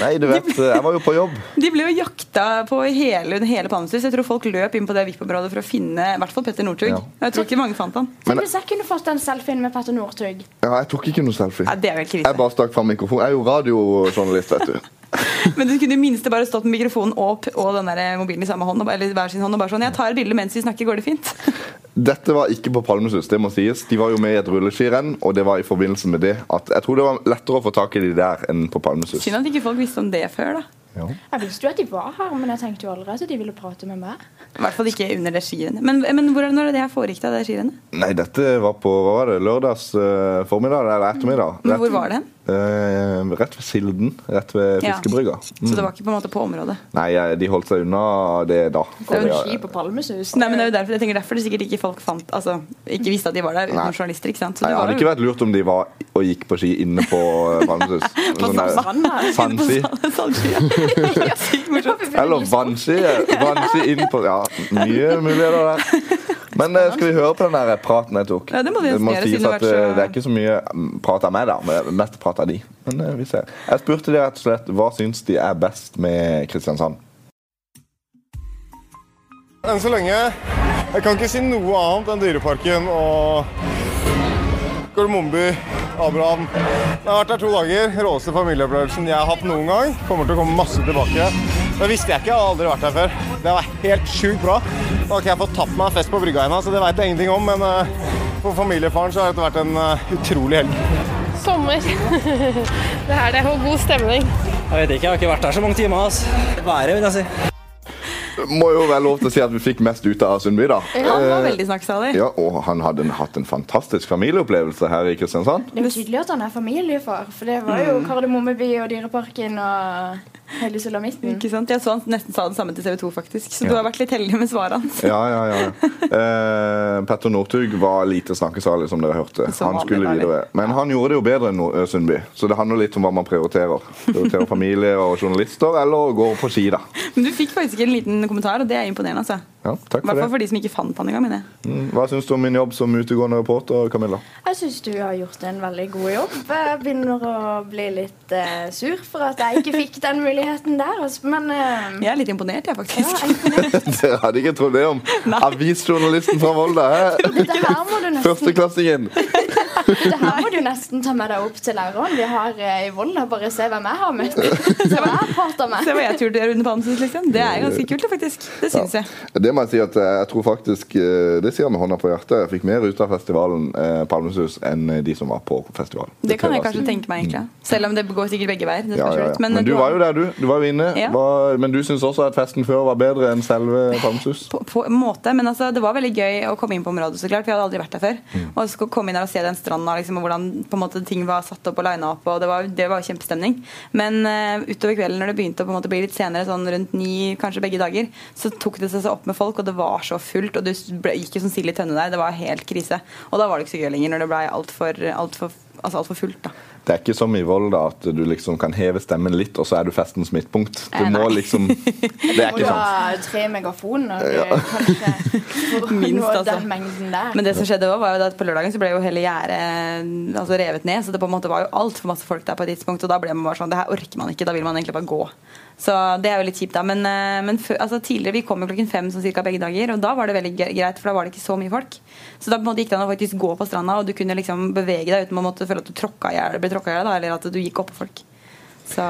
Nei, du vet, jeg var jo på jobb.
De ble jo jakta på i hele, under hele Palmesus. Jeg tror folk løp inn på det VIP-området for å finne i hvert fall Petter Northug.
Ja.
Og Jeg tror ikke mange fant han.
Men-
Men, Hvis jeg kunne fått den selfien med Petter Northug
Ja, jeg tok ikke noe selfie.
Ja, det er vel
Jeg
krise.
bare stakk fram mikrofonen. Jeg er jo radiojournalist, vet du.
Men du kunne i minste bare stått med mikrofonen opp og den der mobilen i samme hånd, og bare- eller hver sin hånd, og bare sånn Jeg tar bilde mens vi snakker, går det fint? <laughs>
Dette var ikke på Palmesus, det må sies. De var jo med i et rulleskirenn, og det var i forbindelse med det at Jeg tror det var lettere å få tak i de der enn på Palmesus.
Synd at ikke folk visste om det før, da.
Ja.
Jeg visste jo at de var her, men jeg tenkte jo allerede at de ville prate med meg.
I hvert fall ikke under det skirennet. Men, men hvor, når er det her foregikk, da? Det skirennet?
Nei, dette var på hva var det, lørdags eh, formiddag eller ettermiddag.
Men hvor var det hen?
Eh, rett ved Silden. Rett ved
Ja.
fiskebrygga.
Så det var ikke på en måte på området.
Nei, eh, de holdt seg unna det da.
Det er jo
For
en ski på Palmesus.
Nei,
<laughs>
men det er jo derfor, jeg tenker derfor det sikkert ikke folk fant Altså, ikke visste at de var der
Nei.
utenom journalister, ikke sant? Så
Nei,
det
det
var
hadde
jo-
ikke vært lurt om de var og gikk på ski inne på eh,
<laughs>
Palmesus. Sånn der-
Sand, da.
Sandski.
sånn.
Eller vannski. Vannski inn på Ja, mye muligheter der. Men eh, skal vi høre på den der praten jeg tok?
Ja, det må vi nesten gjøre,
sies
siden det har
at
vært så-
eh, Det er ikke så mye mm, prat av meg, da. men Mest prat av de. Men eh, vi ser. Jeg spurte de rett og slett hva syns de er best med Kristiansand.
Enn så lenge Jeg kan ikke si noe annet enn Dyreparken og Gormomby, Abraham. Jeg har vært der to dager. Råeste familieopplevelsen jeg har hatt noen gang. Kommer til å komme masse tilbake. Det visste jeg ikke. Jeg har aldri vært der før. Det var helt sjukt bra. Nå har ikke jeg fått tatt meg en fest på brygga ennå, så det veit jeg ingenting om. Men eh, for familiefaren så har dette vært en eh, utrolig helg.
Sommer. <laughs> det her det, og god stemning.
Jeg vet ikke, jeg har ikke vært der så mange timer. Altså. Været, vil jeg si.
Må jo være lov til å si at vi fikk mest ut av Sundby, da.
Han var
Eh,
veldig snakksalig.
Ja, og han hadde en- hatt en fantastisk familieopplevelse her i Kristiansand.
Det er jo tydelig at han er familiefar, for det var
Mm.
jo Kardemommeby og Dyreparken og hele sulamitten.
Ikke sant? Jeg så han nesten sa det samme til TV2, faktisk. Så du har vært litt heldig med svaret
<laughs>
hans.
Ja, ja, ja. Eh, Petter Northug var lite snakkesalig, som dere hørte.
Som
Han
vanlig,
skulle
da, eller?
videre. Men han gjorde det jo bedre enn Nor- eh, Sundby. Så det handler litt om hva man prioriterer. Prioriterer familie og journalister, eller å gå på ski, da.
Men du fikk faktisk en liten kommentar, og det er imponerende. altså.
Ja, takk for
I hvert fall
det.
for de som ikke fant han engang. mener jeg.
Mm, Hva syns du om min jobb som utegående reporter, Camilla? <laughs>
Jeg syns du har gjort en veldig god jobb. Jeg begynner å bli litt eh, sur for at jeg ikke fikk den muligheten der, altså. men eh,
Jeg er litt imponert, jeg,
ja,
<laughs> faktisk.
jeg,
Dere hadde ikke trodd det om avisjournalisten fra Volda, hæ?
det, her må du nesten,
Førsteklassingen.
det her må du nesten ta med deg opp til læreren vi har eh, i Volda. Bare se hvem jeg har møtt. Se hva jeg prater med.
Se hva jeg turde gjøre under Palmesus, liksom. Det er ganske kult, det, faktisk. Det syns jeg.
Det må jeg si at eh, jeg tror faktisk eh, Det sier jeg med hånda på hjertet. Jeg fikk mer ut av festivalen eh, Palmesus enn eh, de som var på festivalen.
Det kan
tør
jeg
si.
kanskje tenke meg, egentlig. Selv om det går sikkert begge veier. Det
Ja,
spørs
ja,
jo
ja.
litt.
Men, du var jo der, du. Du var jo inne.
Ja.
Hva- men du syns også at festen før var bedre enn selve Palmesus?
på, på en måte, men altså, det var veldig gøy å komme inn på området, så klart, for jeg hadde aldri vært der før. Og så komme inn her og se den stranda, liksom, og hvordan på en måte, ting var satt opp og lina opp, og det var, det var kjempestemning. Men eh, utover kvelden, når det begynte å på en måte, bli litt senere, sånn rundt ni, kanskje begge dager, så tok det seg så opp med folk, og det var så fullt, og du s- ble, gikk jo som sild i tønne der, det var helt krise. Og da var det ikke så gøy lenger, når det ble altfor alt for, altså, alt for fullt, da.
Det er ikke som i Volda at du liksom kan heve stemmen litt, og så er du festens midtpunkt. Du
Eh,
må
nei. <laughs>
liksom Det er
Må du
ikke sant.
ha tre megafoner eh,
<laughs>
kanskje for å
Minst,
nå
altså.
den mengden der.
Men det som skjedde også var jo at på lørdagen så ble jo hele gjerdet altså, revet ned. Så det på en måte var jo altfor masse folk der på et tidspunkt. Og da ble man bare sånn Det her orker man ikke. Da vil man egentlig bare gå. Så det er jo litt kjipt, da. Men, eh, men før- altså, tidligere Vi kom jo klokken fem sånn cirka begge dager, og da var det veldig gre- greit, for da var det ikke så mye folk. Så da på en måte gikk det an å faktisk gå på stranda, og du kunne liksom bevege deg uten å måtte føle at du tråkka i hjel, ble tråkka i hjel, da, eller at du gikk oppå folk. Så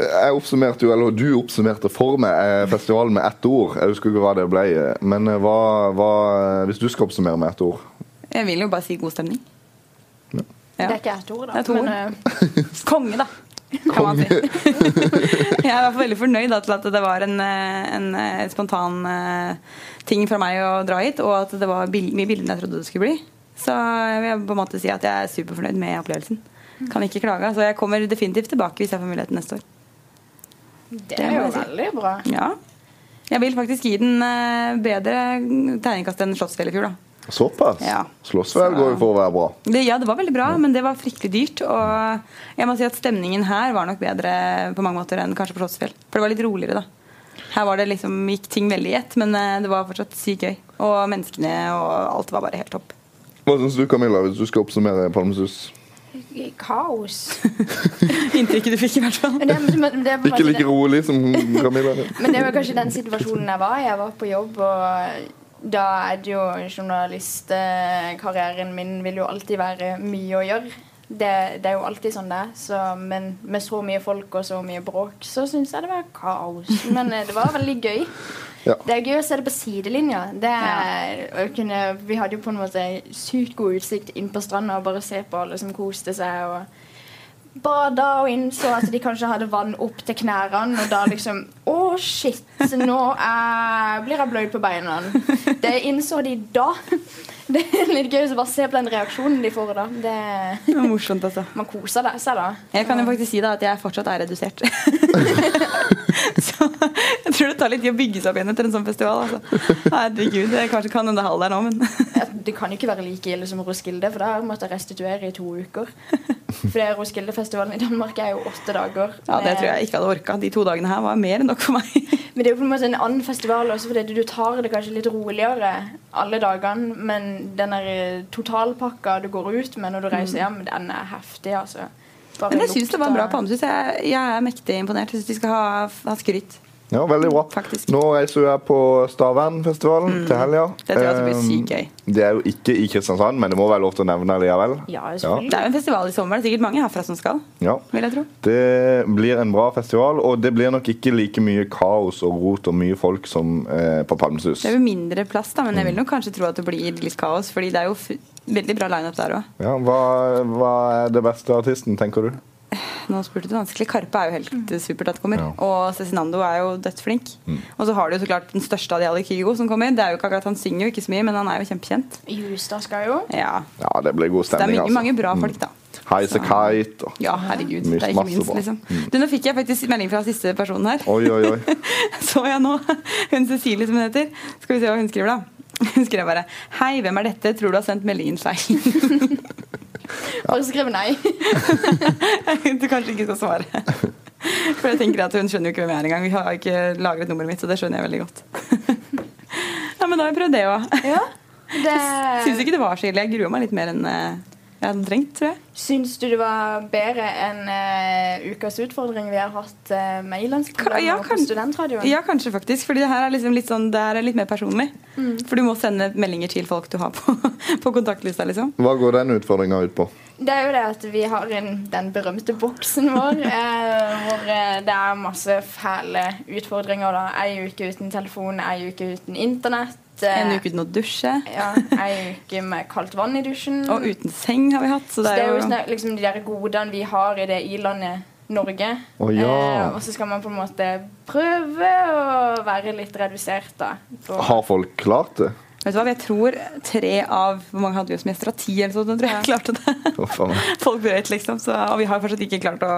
eh,
Jeg oppsummerte jo, eller Du oppsummerte for meg eh, festivalen med ett ord. Jeg husker ikke hva det ble. eh, Men eh, hva, hva eh, Hvis du skal oppsummere med ett ord
jeg vil jo bare si god stemning. Ja.
Det er ikke ett ord, da.
Det er to ord.
eh,
Konge, da. Kan man si. <laughs> jeg er i hvert fall veldig fornøyd da, til at det var en, eh, en eh, spontan eh, ting fra meg å dra hit, og at det var bil mye billigere enn jeg trodde det skulle bli. Så jeg vil på en måte si at jeg er superfornøyd med opplevelsen. Kan ikke klage. Så jeg kommer definitivt tilbake hvis jeg får muligheten neste år.
Det er jo veldig bra.
Ja. Jeg vil faktisk gi den eh, bedre tegningkast enn Slottsfjell i fjor, da.
Såpass?
Ja.
Slåssvel går jo for å være bra.
Det, ja, det var veldig bra, men det var fryktelig dyrt. Og jeg må si at stemningen her var nok bedre på mange måter enn kanskje på Slottsfjell. For det var litt roligere, da. Her var det liksom, gikk ting veldig i ett, men eh, det var fortsatt sykt gøy. Og menneskene og alt var bare helt topp. <laughs>
Hva syns du, Camilla, hvis du skal oppsummere Palmesus?
Kaos.
Inntrykket du fikk, i hvert fall.
Men det, men, men det er på en
Ikke
måte
like
det-
rolig som Camilla.
Men det var kanskje den situasjonen jeg var i. Jeg var på jobb, og da er det jo journalistkarrieren min vil jo alltid være mye å gjøre. Det, det er jo alltid sånn det er. Så, men med så mye folk og så mye bråk, så syns jeg det var kaos. Men eh, det var veldig gøy.
Ja.
Det er gøy å se det på sidelinja. Det er, å kunne, vi hadde jo på en måte sykt god utsikt inn på stranda og bare se på alle som koste seg. og bada og innså at de kanskje hadde vann opp til knærne. Og da liksom Å, shit! Nå eh, blir jeg bløyd på beina. Det innså de da. Det er litt gøy å bare se på den reaksjonen de får da. Det,
Det var morsomt, altså.
man koser deg- seg da.
Jeg kan jo faktisk si da at jeg fortsatt er redusert. <laughs> så jeg tror det tar litt tid å bygge seg opp igjen etter en sånn festival. Altså. Herregud, jeg kanskje kan hende halv der nå, men
Det kan jo ikke være like ille som Roskilde, for da har jeg måttet restituere i to uker. For det Roskildefestivalen i Danmark er jo åtte dager.
ja, det
med-
tror jeg ikke hadde orka. De to dagene her var mer enn nok for meg.
Men det er jo på en måte en annen festival også, fordi du tar det kanskje litt roligere alle dagene, men den der eh, totalpakka du går ut med når du reiser hjem, den er heftig, altså. Bare
Mm. Men jeg syns det var en bra
lukta-
palmesus. Jeg, jeg er mektig imponert. Jeg syns de skal ha, ha skryt.
Ja, veldig bra. Nå reiser jeg på Stavernfestivalen til helga.
Mm. Det tror jeg også blir
Eh,
sykt gøy.
Det er jo ikke i Kristiansand, men det må være lov til å nevne likevel.
Det er jo en festival i sommer. Det er sikkert mange herfra som skal,
Ja.
vil jeg tro.
Det blir en bra festival, og det blir nok ikke like mye kaos og rot og mye folk som eh, på Palmesus.
Det er jo mindre plass, da, men jeg vil nok kanskje tro at det blir litt kaos. Fordi det er jo f veldig bra lineup der òg.
Ja, hva, hva er det beste artisten, tenker du?
Nå spurte du vanskelig. Karpe er jo helt eh, supert at det kommer. Og Cezinando er jo dødsflink.
Mm.
Og så har du jo så klart den største av de alle, Kygo, som kommer. Det er jo ikke akkurat Han synger jo ikke så mye, men han er jo kjempekjent.
Justad skal jo.
Ja.
Ja, det blir god
Så det er
stemning,
mye,
altså.
mange bra folk, da.
Heise Kite og
Ja, herregud.
Mye-
Det er ikke
masse
minst,
bra. Mm.
liksom. Du, nå fikk jeg faktisk melding fra siste personen her.
Oi, oi, oi.
<laughs> Så jeg nå. Hun Cecilie, som hun heter. Skal vi se hva hun skriver, da. Hun skrev bare Hei, hvem er dette? Tror du har sendt meldingen feil. <laughs>
Bare skriv nei.
du kanskje ikke skal svare. <laughs> For jeg tenker at hun skjønner jo ikke hvem jeg er engang. Vi har ikke lagret nummeret mitt, så det skjønner jeg veldig godt. <laughs> ja, men da har jeg prøvd det òg.
Ja, det...
Syns ikke det var så ille. Jeg grua meg litt mer enn eh, jeg hadde trengt, tror jeg.
Syns du det var bedre enn eh, ukas utfordring vi har hatt uh, med Ilandsprogrammet
ja,
og på
kan-
studentradioen?
Ja, kanskje faktisk. Fordi det her er liksom litt sånn Det her er litt mer personlig.
Mm.
For du må sende meldinger til folk du har på, <laughs> på kontaktlista, liksom.
Hva går den utfordringa ut på?
Det er jo det at vi har en, den berømte boksen vår, eh, hvor eh, det er masse fæle utfordringer. da. Ei uke uten telefon, ei uke uten internett. eh,
En uke uten å dusje.
Ja, ei uke med kaldt vann i dusjen.
Og uten seng har vi hatt.
Så det er jo snak- liksom de der godene vi har i det i-landet Norge.
Å, ja.
Eh, og så skal man på en måte prøve å være litt redusert, da. på-
Har folk klart det?
Vet du hva, Jeg tror tre av hvor mange hadde vi som gjester? Av Ti eller sånt, jeg tror jeg <laughs> klarte det.
Å, faen.
Folk brøt, liksom. Så, og vi har fortsatt ikke klart å,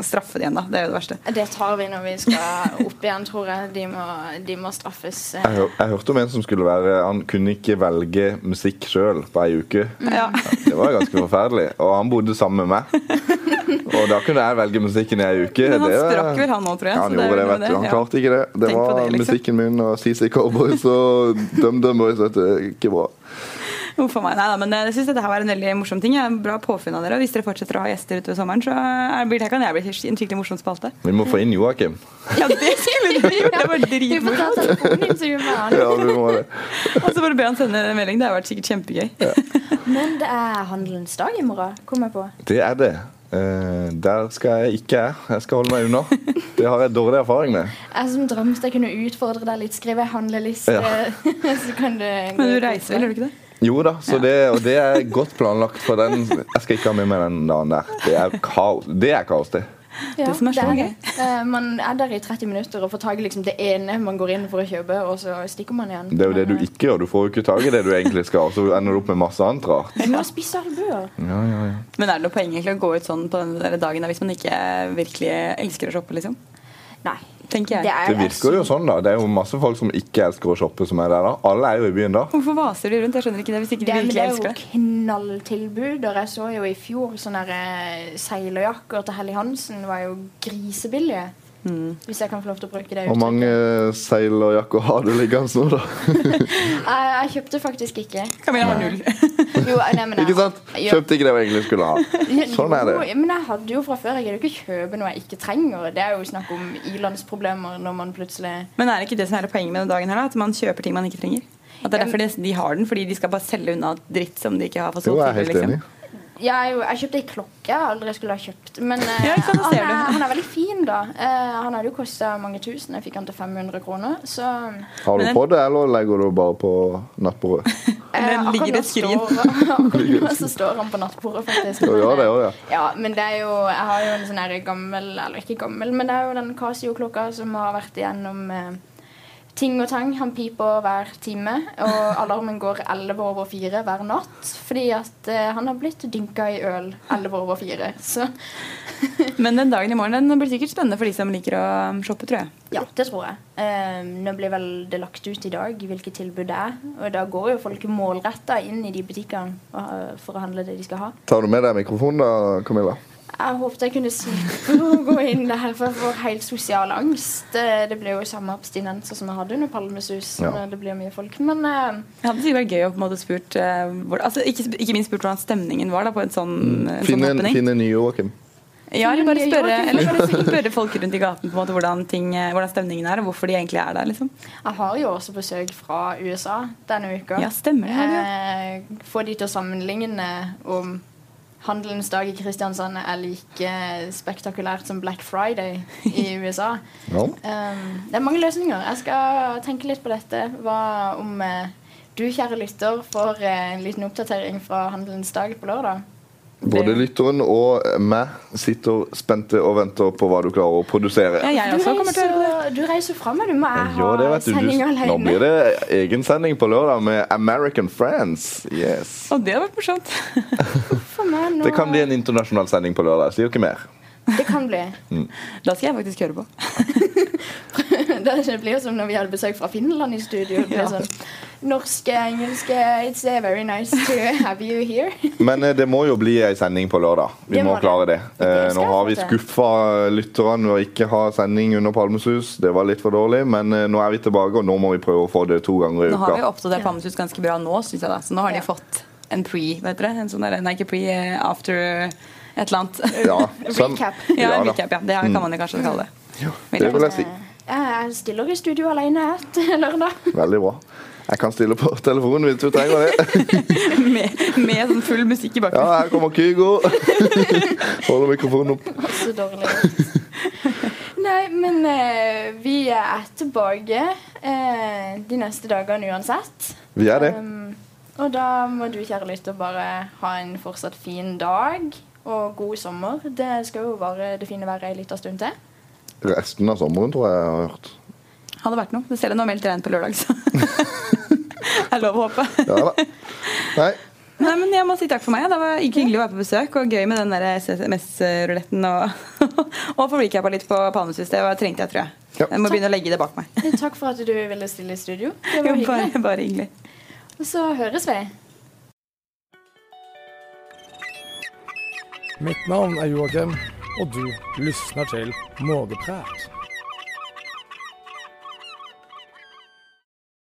å straffe det igjen, da. Det er jo det verste.
Det tar vi når vi skal opp igjen, tror jeg. De må, de må straffes.
Jeg, hør, jeg hørte om en som skulle være Han kunne ikke velge musikk sjøl på ei uke.
Mm.
Ja.
Det var ganske forferdelig. Og han bodde sammen med meg. Og da kunne jeg velge musikken i ei uke.
<laughs> Men han
Det var-
sprakk vel, han òg, tror jeg.
Ja,
så
han
det er
gjorde det,
noe med
vet du. Han
ja.
klarte ikke det. Det
Tenk på
var
det, liksom.
musikken min og CC Cowboys og DumDum Boys. Vet du. Ikke bra.
Uff a meg. Nei da, men eh, jeg syns dette her var en veldig morsom ting. Ja. Bra påfunn av dere. Og hvis dere fortsetter å ha gjester utover sommeren, så er- blir det kan jeg bli en skikkelig morsom spalte.
Vi må få inn Joakim.
<laughs> Ja, det skulle dere gjort! Det var dritmorsomt.
Ja, vi må det.
Og så bare be han sende en melding. Det har vært sikkert kjempegøy.
Men det er handelens dag i morgen, kom jeg på.
Det er det. Eh, der skal jeg ikke jeg. Jeg skal holde meg unna. Det har jeg dårlig erfaring med.
Jeg som drømte jeg kunne utfordre deg litt, skrive en handleliste.
Ja.
<laughs> så kan du
Men du reiser vel, gjør du ikke det?
Jo da, så det, og det er godt planlagt for den. Jeg skal ikke ha med meg den dagen der. Det er kaos, det. Er kaos, det.
Ja,
Det som er så
det. Eh, Man er der i 30 minutter og får tak i liksom det ene man går inn for å kjøpe, og så stikker man igjen.
det er jo det du ikke gjør. Du får jo ikke tak i det du egentlig skal, og så ender du opp med masse annet rart.
Du eh, må spise albuer.
Ja, ja, ja.
Men er det noe poeng egentlig å gå ut sånn på den der dagen da, hvis man ikke virkelig elsker å shoppe, liksom?
Nei.
tenker jeg.
Det virker jo sånn, da. Det er jo masse folk som ikke elsker å shoppe, som er der da. Alle er jo i byen da.
Hvorfor vaser de rundt? Jeg skjønner ikke det hvis ikke de
Det, men
virkelig
det er jo
elsker det.
knalltilbud. Og jeg så jo i fjor sånne der, eh, seilerjakker til Helly Hansen var jo grisebillige.
Mm.
Hvis jeg kan få lov til å bruke det.
Hvor
uttrykket.
mange seilerjakker har du liggende nå, da?
Jeg, jeg kjøpte faktisk ikke.
Camilla har null.
jo, nei, men jeg,
<laughs> Ikke sant?
Ja.
Kjøpte ikke det jeg egentlig skulle ha. Sånn er det.
Jo, Men jeg hadde jo fra før. Jeg kan jo ikke kjøpe noe jeg ikke trenger. Det er jo snakk om ilandsproblemer når man plutselig
<laughs> Men er det ikke det som er poenget med den dagen her, da? At man kjøper ting man ikke trenger? At det er derfor de, de har den, fordi de skal bare selge unna dritt som de ikke har fått
Jo,
solgt.
jeg er helt
tidligere, liksom?
enig.
Jeg, er jo, jeg kjøpte ei klokke jeg aldri skulle ha kjøpt.
<laughs>
Men eh,
Ja, ikke sant, da
han,
ser
er,
du.
han er veldig fin, da. Eh, han hadde jo kosta mange tusen. Jeg fikk han til 500 kroner. Så
Har du på det, eller legger du bare på nattbordet?
Eller
ligger det et skrin?
<laughs> Akkurat nå så står han på nattbordet, faktisk.
Jo, gjør det òg, ja.
Ja, men det er jo Jeg har jo en sånn her gammel Eller ikke gammel, men det er jo den Casio-klokka som har vært igjennom eh, ting og tang. Han piper hver time, og alarmen går 11 over 4 hver natt. Fordi at eh, han har blitt dynka i øl 11 over 4. Så
liksom. Men den dagen i morgen den blir sikkert spennende for de som liker å um, shoppe, tror jeg.
ja, det tror jeg. Eh, nå blir vel det lagt ut i dag hvilket tilbud det er. Og da går jo folk målretta inn i de butikkene og, eh, for å handle det de skal ha.
Tar du med deg mikrofonen da, Camilla?
Jeg håpet jeg kunne slippe å <laughs> gå inn der, for jeg får helt sosial angst. Eh, Det, det ble jo samme abstinenser som jeg hadde under Palmesus.
Ja.
når Det blir mye folk. Men eh,
Det hadde sikkert vært gøy å på en måte spurt eh, hvor, altså, ikke, ikke minst spurt hvordan stemningen var da, på en sånn,
Mm,
eh, sånn
Finne,
happening.
finne nye Joakim.
Ja, eller bare
Finne nye
spørre,
Joakim.
eller bare spørre folk rundt i gaten på en måte hvordan, ting, eh, hvordan stemningen er, og hvorfor de egentlig er der. liksom.
jeg har jo også besøk fra USA denne uka.
Ja, stemmer det, har du jo.
Eh, Få de til å sammenligne om Handelens dag i Kristiansand er like spektakulært som Black Friday i
<laughs>
USA.
Ja.
Um, det er mange løsninger. Jeg skal tenke litt på dette. Hva om eh, du, kjære lytter, får eh, en liten oppdatering fra Handelens dag på lørdag?
Både lytteren og meg sitter spente og venter på hva du klarer å produsere.
du reiser, Du reiser fra meg, du må jeg
Jo, det
ha
vet du.
sending
du. Nå
alene.
blir det egensending på lørdag med American Friends. Yes.
Og det har vært morsomt. <laughs>
For meg nå.
Det kan bli en internasjonal sending på lørdag. Sier ikke mer.
Det kan bli.
Mm.
Da skal jeg faktisk høre på.
<laughs> det blir jo som når vi hadde besøk fra Finland i studio. Det blir
Ja.
sånn norske, engelske It's eh, very nice to have you here. <laughs>
Men eh, det må jo bli ei sending på lørdag. Vi
Det
må
må det.
klare det. Eh,
skal
Nå har vi
jeg få til.
skuffa lytterne ved å ikke ha sending under Palmesus. Det var litt for dårlig, men eh, nå er vi tilbake, og nå må vi prøve å få det to ganger i
Nå har vi
uka.
oppdatert Palmesus ganske bra nå, synes jeg. da Så nå har de fått en pre, vet dere? En sånn der, nei, ikke pre, eh, after et eller annet. <laughs>
Ja, sånn.
recap.
Ja,
Ja,
da.
en
Mm.
recap, ja. Det kan man jo kanskje kalle det.
Det vil jeg si.
Jeg stiller i studio alene etter <laughs> lørdag.
Veldig bra. Jeg kan stille på telefonen hvis du trenger det.
med, med sånn full musikk i
Ja,
bakgrunnen.
her kommer Kygo. Holder mikrofonen opp.
Så dårlig. <laughs> Nei, men eh, vi er tilbake eh, de neste dagene uansett.
Vi er det.
Um, og da må du, kjære lytter, bare ha en fortsatt fin dag og god sommer. Det skal jo være det fine været ei lita stund til.
Resten av sommeren, tror jeg jeg har hørt.
Hadde vært noe. Det ser jeg nå har meldt regn på lørdag, så <laughs> er lov å håpe.
Ja da. Nei,
Nei, men Jeg må si takk for meg. Det var ikke hyggelig å være på besøk. Og gøy med den der SMS-ruletten. Og, <laughs> og få recapa litt på Palmesus. Det var, trengte jeg, tror jeg. Jeg må begynne å legge det bak meg.
Takk for at du ville stille i studio. Det var
Jo,
hyggelig.
<laughs> bare, bare hyggelig.
Og så høres vi.
Mitt navn er Joakim, og du lysner til Mågeprat.